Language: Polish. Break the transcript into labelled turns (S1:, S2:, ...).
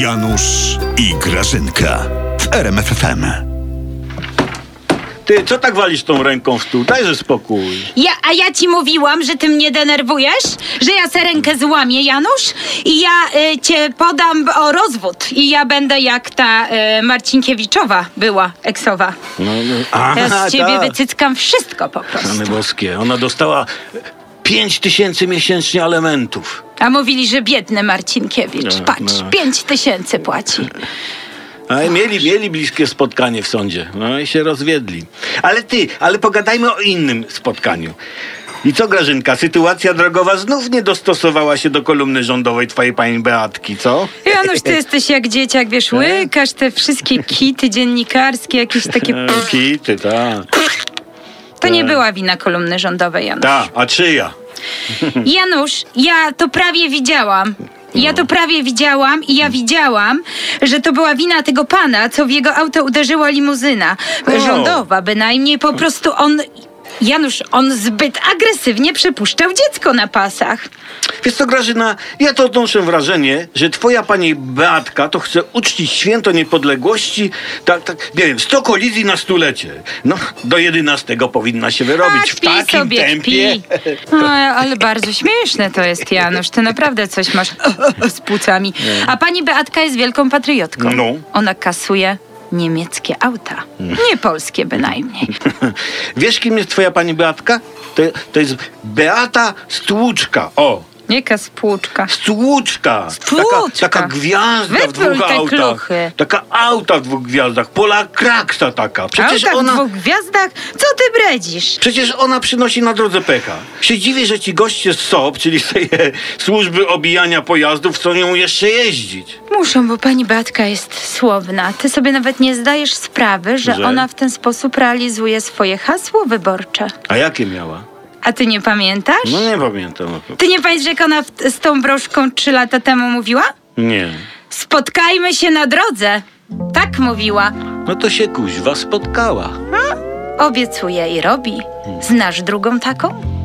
S1: Janusz i Grażynka w RMFFM.
S2: Ty, co tak walisz tą ręką w stół? Dajże spokój.
S3: Ja, a ja ci mówiłam, że ty mnie denerwujesz? Że ja se rękę złamię, Janusz? I ja y, cię podam o rozwód. I ja będę jak ta y, Marcinkiewiczowa była, eksowa.
S2: No, no.
S3: Ja z ciebie
S2: tak.
S3: wycyckam wszystko po prostu.
S2: Rany boskie, ona dostała pięć tysięcy miesięcznie alimentów.
S3: A mówili, że biedny Marcinkiewicz.
S2: No,
S3: Patrz,
S2: no.
S3: pięć tysięcy płaci.
S2: A No mieli, mieli bliskie spotkanie w sądzie. No i się rozwiedli. Ale ty, ale pogadajmy o innym spotkaniu. I co, Grażynka, sytuacja drogowa znów nie dostosowała się do kolumny rządowej twojej pani Beatki, co?
S3: Janusz, ty jesteś jak dzieciak, wiesz,
S2: Tak?
S3: łykasz te wszystkie kity dziennikarskie, jakieś takie...
S2: E, Kity, ta.
S3: To
S2: Tak.
S3: nie była wina kolumny rządowej, Janusz.
S2: Ta, a czyja?
S3: Janusz, ja to prawie widziałam. Ja
S2: No.
S3: to prawie widziałam i
S2: Mm.
S3: ja widziałam, że to była wina tego pana, co w jego auto uderzyła limuzyna.
S2: O.
S3: Rządowa bynajmniej, po prostu on... Janusz, on zbyt agresywnie przepuszczał dziecko na pasach.
S2: Wiesz co, Grażyna, ja to odnoszę wrażenie, że twoja pani Beatka to chce uczcić święto niepodległości, tak, tak, nie wiem, 100 kolizji na stulecie. No, do 11 powinna się wyrobić
S3: A,
S2: w
S3: kpi
S2: takim
S3: sobie,
S2: tempie.
S3: kpi. A, ale bardzo śmieszne to jest, Janusz. Ty naprawdę coś masz z płucami. A pani Beatka jest wielką patriotką.
S2: No. Mm.
S3: Ona kasuje niemieckie auta. Nie polskie bynajmniej.
S2: Wiesz, kim jest twoja pani Beatka? To, to jest Beata Stłuczka. O,
S3: Nie kaspłuczka.
S2: Stłuczka. Taka,
S3: Stłuczka.
S2: taka gwiazda w
S3: Wypluj
S2: dwóch
S3: te
S2: autach.
S3: kluchy.
S2: Taka auta w dwóch gwiazdach. Pola Kraksa taka. Przecież
S3: Auta
S2: ona...
S3: tak w dwóch gwiazdach? Co ty bredzisz?
S2: Przecież ona przynosi na drodze pecha. Się dziwię, że ci goście z SOP, czyli z tej e, służby obijania pojazdów, chcą nią jeszcze jeździć.
S3: Muszą, bo pani Beatka jest słowna. Ty sobie nawet nie zdajesz sprawy, że,
S2: Że?
S3: ona w ten sposób realizuje swoje hasło wyborcze.
S2: A jakie miała?
S3: A ty nie pamiętasz?
S2: No nie pamiętam.
S3: Ty nie pamiętasz, jak ona w, z tą broszką trzy lata temu mówiła?
S2: Nie.
S3: Spotkajmy się na drodze. Tak mówiła.
S2: No to się kuźwa spotkała.
S3: Obiecuje i robi. Znasz drugą taką?